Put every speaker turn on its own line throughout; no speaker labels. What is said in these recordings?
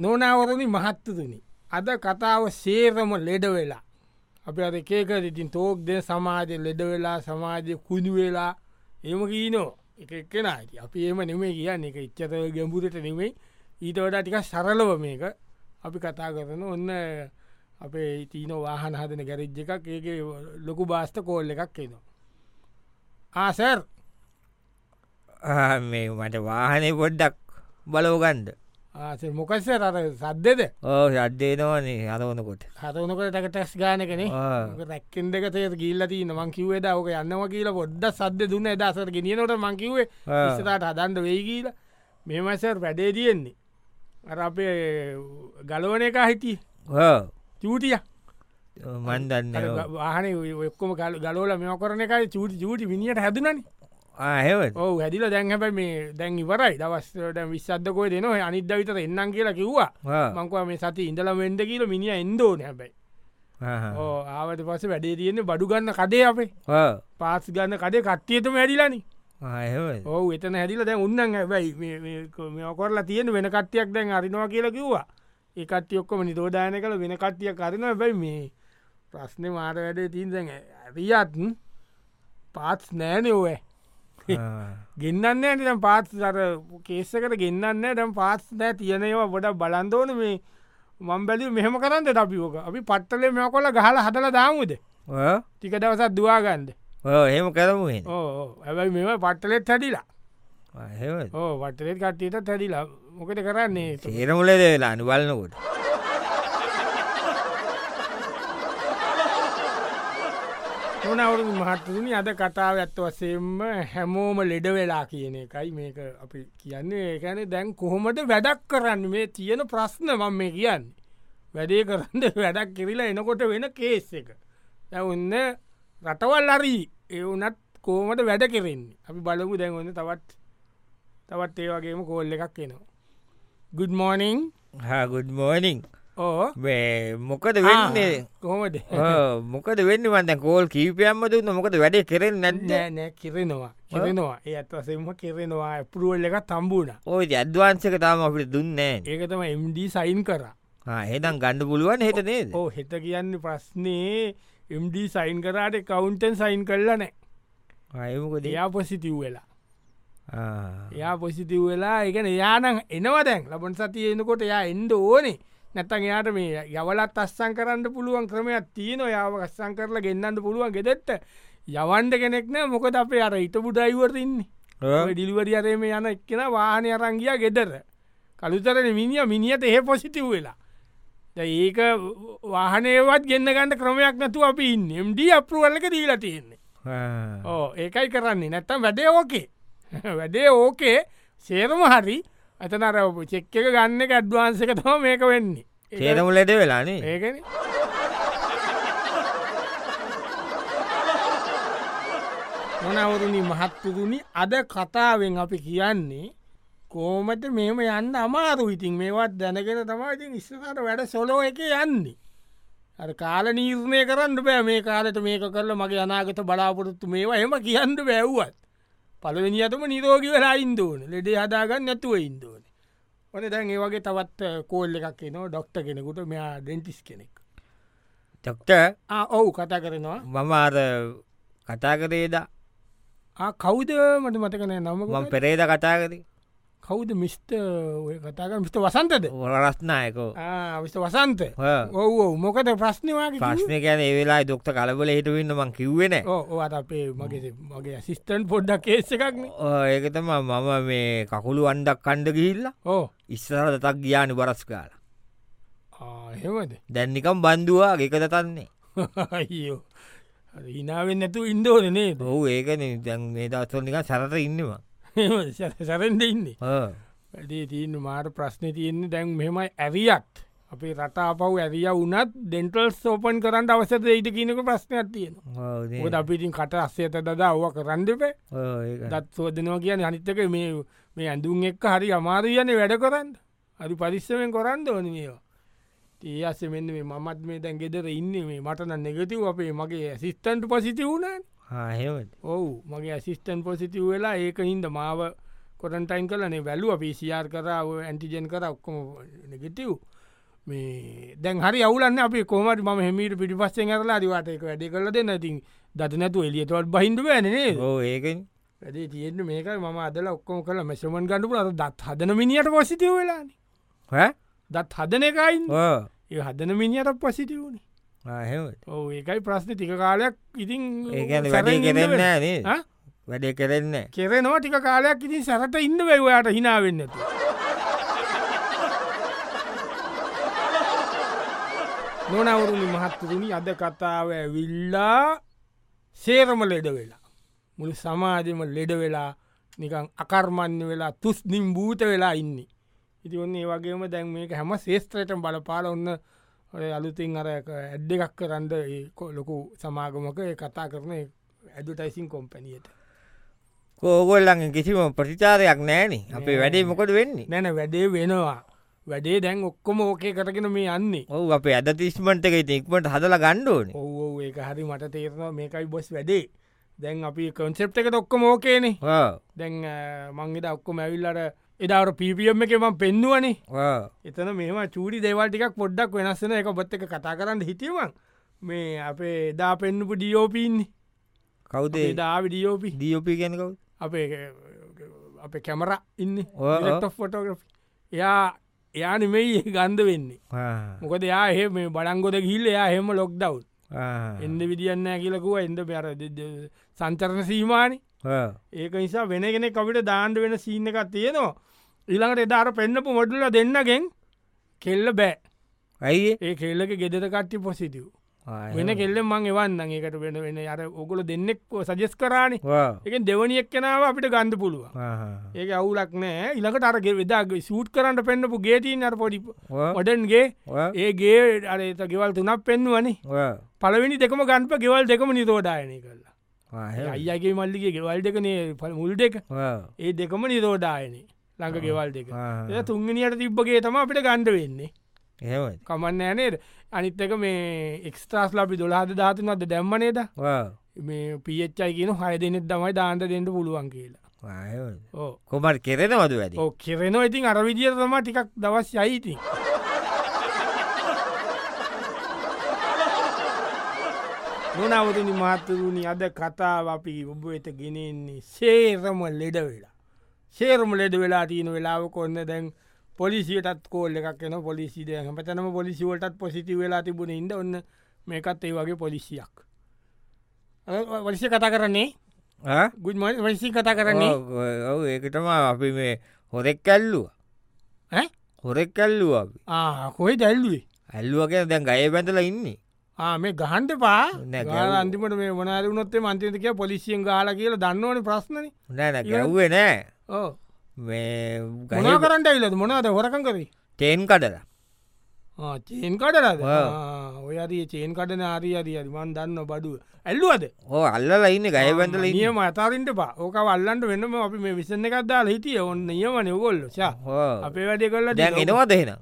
නොනවරණි මහත්තතුනි අද කතාව සේරම ලෙඩවෙලා අප අද කේකර ඉතින් තෝක්ද සමාජය ලෙඩවෙලා සමාජය කුණු වෙලා එම කීනෝ එක එක්කෙනට අපි එම නෙමේ කියන්න එක ඉච්චත ගැඹුරට නෙමෙයි ඊට වඩා ටික සරලව මේක අපි කතා කරන ඔන්න අපේ ඉතින වාහන හදන ගැරජ් එකක් ඒක ලොකු බාස්ත කෝල්ල එකක් එනවා ආසර්
ආ, මේ මට වාහනය පොඩ්ඩක් බලෝගන්ඩ
ආස මොකස්සර අර සද්දෙද
ඕ අද්දේනවනේ අරවනකොට
හතවනකට ටක ටැස් ගානකනේ රැක්කෙන් දෙක තේ ගිල්ලති මං කිවේ ඕක යන්නවා කියල පොඩ්ඩ සද්ද දුන්න දසර ගෙනියනොට මංකිවේ ඉස්සරට හදන්ඩ වෙයි කියල මෙමසර් වැඩේ තියෙන්නේ අර අපේ ගලෝන එක හිටි චූටිය
මන්දන්න
වාහන ඔක්කොම කල් ගලෝල මෙම කරන එකයි චූටි චූටි මිනිට හැදනනි
ආහෙවත්
ඕ හැදිල දැන් හැබැ මේ දැන් ඉවරයි දවස්ට විශ්සද්ධකෝය දෙනවා අනිද්ද විතර එන්නම් කියලා කිව්වා මංකව මේ සති ඉඳල වෙන්ඩ කියල මිනිිය එන්දෝන හැබැයි ඕ ආවට පස වැඩේ තියෙන්නේ බඩු ගන්න කඩේ අපේ පාස් ගන්න කඩේ කට්ටියටම ඇඩිලනි
ආහෙවත්
ඕ එතන හැදිල දැන් උන්නන් ඇබයි මෙකොරලා තියෙන වෙන කට්ටියක් දැන් අරිනවා කියලා කිව්වා ඒකට්ටි ඔක්කොම නිතෝදායන කළ වෙන කට්ටිය කරන ඇබයි මේ ප්‍රශ්න මාර වැඩේ තිීන් දැන් ඇරියත් පාත්ස් නෑනඔය ගෙන්න්නන්නේ ඇටම් පාත් සර කේස්සකට ගෙන්න්න ටම් පාත්ස් නෑ තියනවා ගොඩ බලන්දෝන මේ මං බැලි මෙහම කරන්න අපිෝක අපි පට්ටලේ මෙ කොල ගහල හදල දාමුද ටික දවසත් දවාගන්ද
එහෙම කරමුෙන්
ඕ ඇබයි මෙම පට්ටලෙත් හැඩිලා
ආහෙවත්
ඕ පටලෙත් කට්ටියට හැඩිලා මොකට කරන්නේ
තේරමුලද වෙලා අනුබලනකොට
නොනවරු මහත්තුනි අද කතාව ඇත්ත වසයෙන්ම හැමෝම ලෙඩ වෙලා කියන එකයි මේක අපි කියන්නේ ඒකැන දැන් කොහොමට වැඩක් කරන්න මේ තියෙන ප්‍රශ්න මම මේ කියන්නේ වැඩේ කරන්න වැඩක් කිරිලා එනකොට වෙන කේස් එක දැවන්න රටවල් අරී එවනත් කෝමට වැඩ කෙරෙන්නේ අපි බලපු දැන්වන්න තවත් තවත් ඒ වගේම කෝල් එකක් එනවා ගුඩ් මෝනිං
හාගුඩ් මෝනිින්
ඕ
මොකද වෙන්නේ
කොහොමද
ඕ, මොකද වෙන්න වන්ද කෝල් කීපයම්ම දුන්න මොකද වැඩේ කෙරෙන් නැද්ද
නෑ නෑ කිරෙනවා කිරෙනවා ඒ අත්වසෙම කෙරෙනවා ඇපරුවල් එක තම්බුණ
ඕයි අද්වාන්සක තාම අපිට දුන්නෑ
ඒකතම MD සයින් කරා
හෙදම් ගණඩ පුළුවන් හෙට නේද
ඕ හෙත කියන්න ප්‍රශ්නේ MD සයින් කරාට කවුන්ටන් සයින් කරලා නෑ
අයමකද
එයා පොසිතිව් වෙලා එයා පොසිතිව් වෙලා එකන යානම් එනවා දැන් ලබන් සතිය එනකොට යා එන්ඩ ඕනේ නැත්තන් එයාට මේ යවලත් අස්සං කරන්න පුළුවන් ක්‍රමයක් තියෙන යාව ගස්සං කරලා ගෙන්න්නට පුළුවන් ගෙදෙත්ත යවන්ඩ කෙනෙක් නෑ මොකද අපේ අර ඉට පුඩයිවරන්නේ ඩිලිවරි අරේ මේ යන එක්කෙන වාහනය අරංගිය ගෙදර කළුතරන මිනිිය මිනිියට එහ පොසිතිව් වෙලා දැන් ඒක වාහනයවත් ගෙන්න්න ගන්න ක්‍රමයක් නැතු අපි නෙම්ඩ අපරුවල්ලක දීලා තියෙන්නේ ඕ ඒකයි කරන්නේ නැත්තම් වැඩේ ඕකේ වැඩේ ඕකේ සේරම හරි අතනර චෙක්ක එක ගන්න එක ඇඩ්වාන්සක තම මේක වෙන්නේ ඒක-
තේරමුලට වෙලානේ
ඒකන මොනවරුණි මහත්තුරුණි අද කතාවෙන් අපි කියන්නේ කෝමට මෙම යන්න අමාරු ඉතින් මේවත් දැනගෙන තමාති ඉස්සකට වැඩ සොලෝ එක යන්නේ. අ කාල නීර්ණය කරන්න බෑ මේ කාලට මේක කරල මගේ අනාගත බලාපොරොත්තු මේවා එම කියන්න බැව්වත්. පලවෙනිියතම නිරෝගි වෙලා ඉන්දෝන ලෙඩේ හදාගන්න නැතුව ඉන්දෝන. ඕන දැන් ඒවගේ තවත් කෝල්ල එකක් නවා ඩොක්ට කෙනෙකුට මෙයා ඩෙන්ටිස් කෙනෙක්
චොක්ට
ආ, ඔව් කතා කරනවා
මම අර කතා කරේද
ආ, කවුද මට මතකන
මම
නම
පෙරේද කතා කර
කවුද මිස්ට ඔය කතාක මිට වසන්තද
රස්නායකෝ
විස්ට වසන්ත ඔව ඔව්, මොකද ප්‍රශ්නවාගේ
ප්‍රශ්න ගැන ඒවෙලා දොක්ට කලබල හිටවන්න මං කිව්වෙන
ඕත් අපේ මගේ මගේ සිිස්ටන් පොඩ්ඩක් කේස එකක්න
ඒකතම මම මේ කකුළු අන්ඩක් කණ්ඩ ගිහිල්ලා
ඕ
ඉස්සරට තක් ගියානු බරස් කාලා
හෙමද
දැන්නිකම් බන්දවා ගෙකත තන්නේ
අයියෝ ඉනාවෙන් නැතු ඉන්දෝනනේ
බොහු ඒකන දැන් මේ දත්වනික සරත ඉන්නවා
සැරෙන්ඩ ඉන්නේ
ආ.
වැඩේ තියන්න මාට ප්‍රශ්න තියෙන්නේ දැන් මෙමයි ඇවිත් අපේ රටාපව් ඇරිය වනත් ඩෙන්ටල් සෝපන් කරන්න අවසත ඊට කියනක ප්‍රශ්නයක් තියෙනවා
ඔව් නේ.
ොද අපිටින් කට අස්සේත දදා ඔව කරන්නපේ
ඔව් ඒක.
දත් සෝදනවා කියන අනිත්තක මේ මේ ඇඳුම් එක්ක හරි අමාරීයන වැඩ කරන්න අරි පරිස්සමෙන් කරන්න ඕන මේවා තිය අස මෙන්න මේ මමත් මේ දැන් ගෙදර ඉන්න මේ මටන නෙගතිව අපේ මගේ ඇසිස්ටන්ට් පසිති වුණන්
ආ, එහෙමද?
ඔවු මගේ ඇසිස්ටන් පොසිතිව් වෙලා ඒක හින්ද මාව කොටන්ටයින් කලනේ වැලුව පිසිR කරාව ඇන්ටිජෙන් කර ඔක්කොම නෙගෙටව් මේ දැන් හරි අවුලන්න අපි කෝමට ම හෙමීට පිටිපස්සෙන් කරලා අරිවාටයක වැඩි කරල දෙන්න ඉතින් දත නැතු එලියතවත් බහින්ඩුව ඇනේ
ඕ ඒකෙන්
ඇදේ තියෙන්ට මේක ම අදල ඔක්කොම කල මෙසමන් ගඩුපු අද දත් හදන මිනිියට පොසිටව වෙලාන
හ
දත් හදන එකයින්
ඕ
ඒ හදන මිනිියට පොසිටවුණ
හෙම
ඕ ඒකයි ප්‍රශ්න ටික කාලයක් ඉතින්
ඒකන වැඩේ
සැරෙන් ඉන්න
කරෙන්න
වෙන-
නේ
ආ?
වැඩේ කරෙන්න
කෙරෙනවා ටික කාලයක් ඉතින් සැරට ඉන්න වැවයාට හිනාවෙන්නතු නොනවුරුණි මහත්තුරුණි අද කතාව ඇවිල්ලා සේරම ලෙඩ වෙලා මුළු සමාජම ලෙඩ වෙලා නිකං අකර්මන්්‍ය වෙලා තුස් නිම් භූත වෙලා ඉන්නේ ඉති ඔන්න ඒ වගේම දැන් මේක හැම ශේස්ත්‍රයට බලපාල ඔන්න ඔය අලුතින් අර ඇඩ් එකක් කරන්ඩ ලොකු සමාගමක ඒ කතා කරන ඇඩුටයිසින් කොම්පැනියට
කෝගොල්ලන් කිසිම ප්‍රතිචාරයක් නෑන අපේ
නෑ.
වැඩේ මොකට වෙන්නේ
නැන වැඩේ වෙනවා වැඩේ දැන් ඔක්කොම ඕකේ කරගෙන මේ යන්නේ
ඔහු අපේ අද තිස්මට එක ඉතින් ඉක්මට හදල ගණ්ඩුවන
ඔවෝ ඒක හරි මට තේරවා මේකයි බොස් වැඩේ දැන් අපි කොන්සෙප් එක ඔක්කොම ඕකේනේ දැන් මංගෙට ඔක්කොම ඇවිල්ලට එදාවට පිපියම් එක ම පෙන්නුවනේ එතන මෙම චූඩි දේවල්ටිකක් පොඩ්ඩක් වෙනස්සෙන එක බොත් එක කතා කරන්න හිටියවන් මේ අපේ එදා පෙන්නුපු ඩියෝපීන්නේ
කවුදේ
එදා ඩියෝපි
දියපී ගැන කවු
අපේ අපේ කැමර ඉන්න
ඔව්.
ෆොටෝග්‍රි එයා එයා නෙමෙයි ගන්ධ වෙන්නේ මොකද යා එහෙ මේ බලංගොද ගිල්ල එයා හෙම ලොක්්ඩව් එන්න විදිියන්න කියලකුව එද පැර සංචරණ සීමානි ඒක නිසා වෙනගෙන කවිට දාණ්ඩ වෙන සීන එකක් තියෙනවා ඉළඟට එදාර පෙන්න්නපු මොඩුල දෙන්නගෙන් කෙල්ල බෑ
ඇයි
ඒ කෙල්ලක ගෙදර කට්ටි පොසිටිය් වෙන කෙල්ල මං එවන්න ඒකට වෙන වෙන අර ඔගොල දෙන්නෙක් සජෙස් කරානි එක දෙවනියක් කෙනාව අපිට ගන්ධ පුළුව ඒක අවුලක් නෑ ඉළඟට අරගේ වෙදාගේ සූට් කරන්න පෙන්න්නපු ගේටීන් අර පොඩි ඔඩන්ගේ ඒගේ අරත ගෙවල් තුනක් පෙන්වනේ පලවෙනි දෙකම ගන්ප ගෙවල් දෙකම නිරෝධායනය කරලා අයිගේ මල්ලිගේ ගෙවල් දෙකනේ පල් මුල් දෙක ඒ දෙකම නිරෝධායනය ළඟ ගෙවල් දෙක එ තුන්ගනියට තිබ්බගේ තම අපිට ගණ්ඩ වෙන්නේ
එහෙම
කමන්න ඇනේද අනිත් එක මේ එක්ස්ට්‍රස් ලබි දොලාහද ධාතුනද දැම්මනේද මේ පියච්චයි කියන හය දෙනෙත් දමයි දාන්ට දෙන්නට පුළුවන් කියලා ඕ
කොමට කෙරෙනවද වැඩි
ඕ කෙරෙනවා ඉතින් අර විදිිය තම ටිකක් දවස් යයිති නොනවරනි මාතරුණි අද කතාව අපි ඔබ වෙත ගෙනෙන්නේ සේරම ලෙඩ වෙලා සේරම ලෙඩ වෙලා තියන වෙලාව කොන්න දැන් පොලිසිටත් කෝල්ල එකක් න පොලිසිදය පතනම පොලිසිවලටත් පොසිටි වෙලා තිබුණ ඉද ඔන්න මේකත් ඒ වගේ පොලිසියක් වලිසි කතා කරන්නේ ගුඩ්ම වලිසි කතා කරන්නේ
ඔව ඒකටම අපි මේ හොරෙක් කැල්ලුව
ඈ?
හොරෙක් කැල්ලුව අපි
කොයි දැල්ලුවේ
ඇල්ලුවගෙන දැන් ගය බැඳල ඉන්න
ආ, මේ ගහන්ට පා
නෑ,
ගාලා අන්තිමට මේ වනාර වනොත්තේ මන්තතික පොලිසියෙන් ගාල කියල දන්නවන ප්‍රශ්නන
නෑන
ඊළඟ-
ගැව්වේ නෑ මේ
ගනා
ගහ
කරට ඇවිලද මොනාද හොරකන් කරේ
තේන් කඩල
ආ, චේන් කඩරද
ඔව්.
ඔය අරිය චේන් කටන ආරී අරි අරිමන් දන්න බඩුව ඇල්ලුවද
ඕ අල්ලලා ඉන්න ගය බැඳල ඉන්න
නියම අතාරන්ට පා ඕක වල්ලන්ට වෙන්නම අපි මේ විසන්න එකක්දා හිටිය ඔන්න නියම නිවගොල්ල සා
ඕ.
අපේ වැඩ කරලා
දැන්
තියෙනවා.
එනවද එහෙන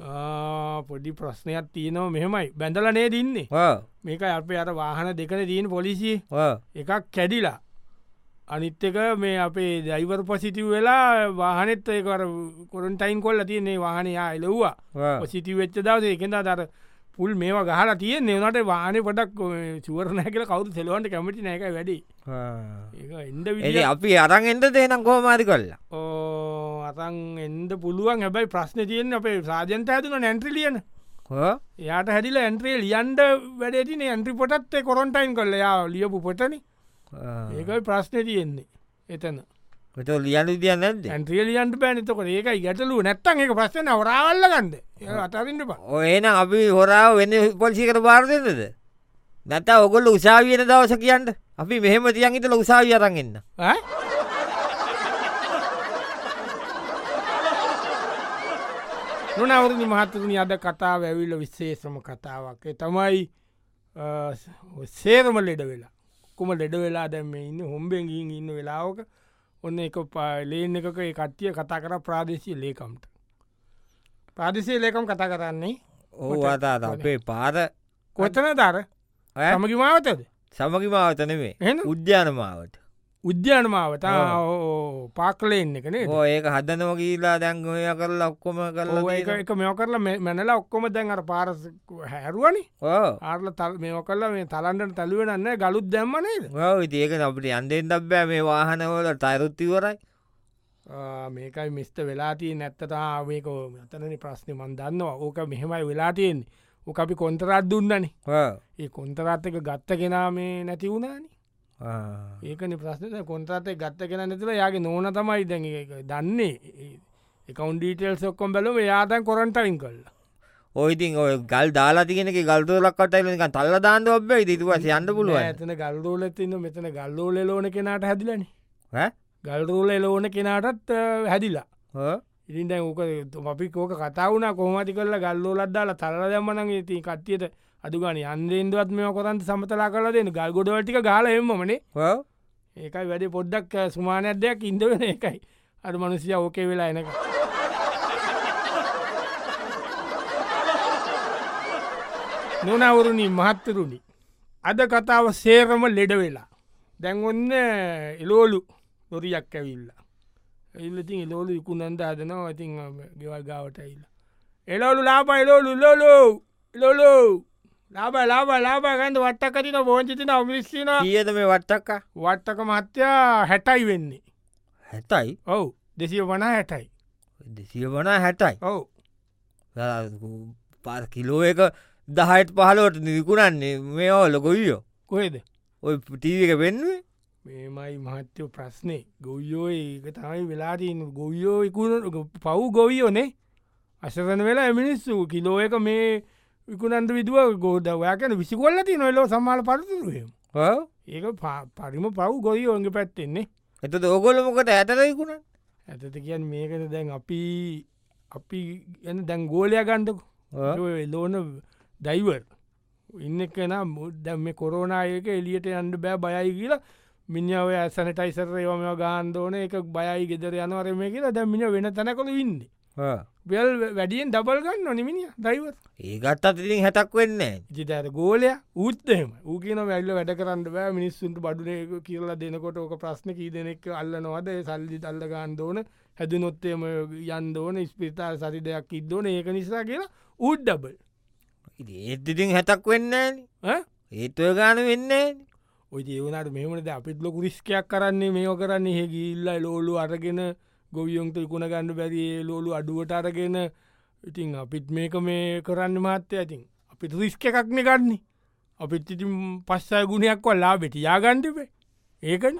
ආ, පොඩි ප්‍රශ්නයක් තියනව මෙහෙමයි බැඳල නේ දින්නේ මේක අපේ අර වාහන දෙකන දීන් පොලිසිේ එකක් කැඩිලා අනිත් එක මේ අපේ දයිවර් පසිටිව් වෙලා වාහනෙත් ඒකර කොරන්ටයින් කොල්ල තියන්නේ වාහනයා එලව්වා පසිටි වෙච්ච දවස එකෙන්දා දර පුල් මේවා ගහලා තිය නෙවනට වානය පොඩක් චුවරණය කල කවුතු සෙලවන්ට කැමටි නෑක වැඩි ඒ එඩ
එ
වි
අපි අරන් එන්ද දෙනම් කෝමාරි කොල්ලා
ඕ අතන් එන්ඩ පුළුවන් හැබයි ප්‍රශ්න තියෙන් අපේ සාජන්ත ඇතුන නැන්ට්‍රලියන
හෝ?
එයාට හැදිල ඇන්ට්‍රේ ලියන්ඩ වැඩටින ඇන්ට්‍රි පොටත් කොරන්ටයින් කොල්ලයා ලියපු පොටන
ආ.
ඒකයි ප්‍රශ්න තියෙන්නේ එතන
කොට ලියලු දිය නැද්ද
ඇන්ට්‍රියලියන්ට පැනිතකොට ඒකයි ගැටලු නැත්තන් එක ප්‍රශ්න අවරාවල්ල ගන්ද අතරින්ට පා
ඕන අපි හොරාව වෙන්න පොල්සිකට බාර දෙන්නද නැත ඔගොල්ල උසාවියන දවස කියන්න අපි මෙහෙම තියන් ඉතල උසාවි අරන්ගන්න
නොනවරදි මහත්තතුනි අද කතාව ඇවිල්ල විශේෂම කතාවක් ඒ තමයි අ, සේරම ලෙඩ වෙලා කුම ලෙඩ වෙලා දැම ඉන්න හොම්බෙන්ගින් ඉන්න වෙලාවක ඔන්න එක ලේන එකක ඒ කට්ටිය කතා කර ප්‍රාදේශී ලේකම්ට ප්‍රාදේශය ලේකම් කතා කරන්නේ
ඕ අතාත අපේ පාර
කොතන දර
ඈ?
තමකි මාවතද
සමගි මාවතන මේ
එහෙනම්?
උද්‍යාන මාවට
උද්‍යාන මාවත
ඔව්.
පාක්ලෙන් එකනේ
ඕ ඒක හදනෝ කියීලා දැන්ගය කරලා ඔක්කොම
ඒක
කරලා
එක මෙෝ කරලා මෙ- මැනලා ඔක්කොම දැන් අර පාරස හැරුවනි
ඕ
ආර්ල තල් මෙෝ කරලා මේ තලන්ට තැලුවෙනන්න ගලුත් දැම්මනේද
ඔව ඒක අපට අන්දෙන් දබ්බෑ මේ වාහනවල ටයිරුත්තිවරයි
ආ, මේකයි මිස්ට වෙලාතිය නැත්තතාාවක මෙතනනි ප්‍රශ්නය මන් දන්නවා ඕක මෙහෙමයි වෙලාතියෙන් ඕක අපි කොන්තරත් දුන්නනි ඒ කොන්තරත් එක ගත්ත කෙනා මේ නැති වුණනි ඒකන ප්‍රශ්නත කොන්තරතය ගත්ත කෙන නැතිල යාගේ නෝන තමයි දැන් ඒක දන්නේ එකකවන් ඩීටෙල් සොක්කොම් බැලම යාතන් කොරන්ටයින් කල්ලා
ඔයිතින් ඔය ගල් දාලාතිගෙනක ගල්තුරලක් කටයිලක තල්ල දාන්න ඔබ්බයි ඉතිතුවස යන්න පුළුවන්
ඇතන ගල්රෝලත් ඉන්න මෙතන ගල්ලෝල ලෝන කෙනට හැදිලන ගල්රෝල ලෝන කෙනටත් හැදිලා ඉරින්ට ඕක අපි කෝක කතාවුණ කොහමති කරලා ගල්ලෝලත් දාලා තල්ල දැම්මනන් ඉතින් කට්ටියට අදුගන අන්දේන්දුවත් මෙ කොතන් සමතලා කල දෙන ගල්ගොඩවටික ගාල එම්මනේ ඒකයි වැඩි පොඩ්ඩක් සුමානයක් දෙයක් ඉන්දවෙන එකයි අර මනුසිය ඕකේ වෙලා එනක නොනවුරුණි මහත්තරුණි අද කතාව සේරම ලෙඩ වෙලා දැන් ඔන්න එලෝලු නොරියක් ඇවිල්ලා එල්ලතින් එලෝලු ඉකුණන්ද අදනවා ඉතින් ගෙවල් ගාවට ඉල්ල එලෝලු ලාබයි ලෝලු ලොලෝ ලොලෝ ලාබ ලාබ ලාබා ගන්ද වට්ටකතින පෝංචිතින අමිස්සින
කියද මේ වට්ටක්කා
වට්ටක මහත්තයා හැටයි වෙන්නේ
හැතයි
ඔවු දෙසිය වනා හැටයි
දෙසියවනා හැටයි
ඔවු
පර් කිලෝ එක දහයිත් පහලෝට නිකුණන්නේ මේ ඕ ලොකොයියෝ
කොහෙද
ඔය ටීවක පෙන්ුවේ
මේමයි මහත්‍යෝ ප්‍රශ්නය ගොයියෝ ඒක තමයි වෙලාටීන ගොයියෝ ඉකුණ පව් ගොවියෝනේ අශරන වෙලා මිනිස්සු කිලෝ එක මේ විකුණන්ට විදුව ගෝඩ ඔයාකන විසිකොල්ලති නොලෝ සමාල පරතුරුවම ඒක පා- පරිම පව් ගොයියෝන්ගේ පැත්තෙන්නේ
එතද ඔගොලමකට ඇතරයිකුණ
ඇතත කියන් මේකට දැන් අපි අපි එන දැන් ගෝලය ගණ්ඩකු ලෝන දයිවර් ඉන්න කෙන මුදැම් මේ කොරෝනායක එලියට යන්ඩ බෑ බයයි කියලා මිනිාව ඇසනටයිසර යම ගාන්දෝන එක බයයි ගෙදර යනවර මේ කියලා දැම්මින වෙන තැනකොළ ඉන්න වෙල් වැඩියෙන් දබල් ගන්න නොනිමිනි දයිවර්
ඒගත් අතිතිින් හැටක් වෙන්නේ
ජිතඇත ගෝලය ූත්තෙම ඌකන වැල්ල වැඩ කරන්න බෑ මිනිස්සුන්ට බඩුනය කියලා දෙනකොට ඕක ප්‍රශ්න කී දෙනෙක් අල්ලනවද ඒ සල්ලි තල්ල ගාන්දෝන හැද නොත්තේම යන්දෝන ස්පිතාල් සරි දෙයක් ඉදෝන ඒක නිසා කියලා ඌත් ඩබල්
ඒත්තිතිින් හැටක් වෙන්න
ඈ?
ඒත්ව ගාන වෙන්න
ඔය ඒවනට මෙමට අපිත් ලොකු රිස්කයක් කරන්නේ මේෝ කරන්න හෙ ගිල්ල ලෝලු අරගෙන ගොවියොන්ට ඉකුණ ගන්න බැරියේ ලෝලු අඩුවට අරගෙන ඉතින් අපිත් මේක මේ කරන්න මහත්තය ඇතින් අපිත් රිස්ක එකක්න කරන්නේ අපිත් ඉතින් පස්සය ගුණයක්ව ලා බෙට යාගන්ඩිපේ ඒකන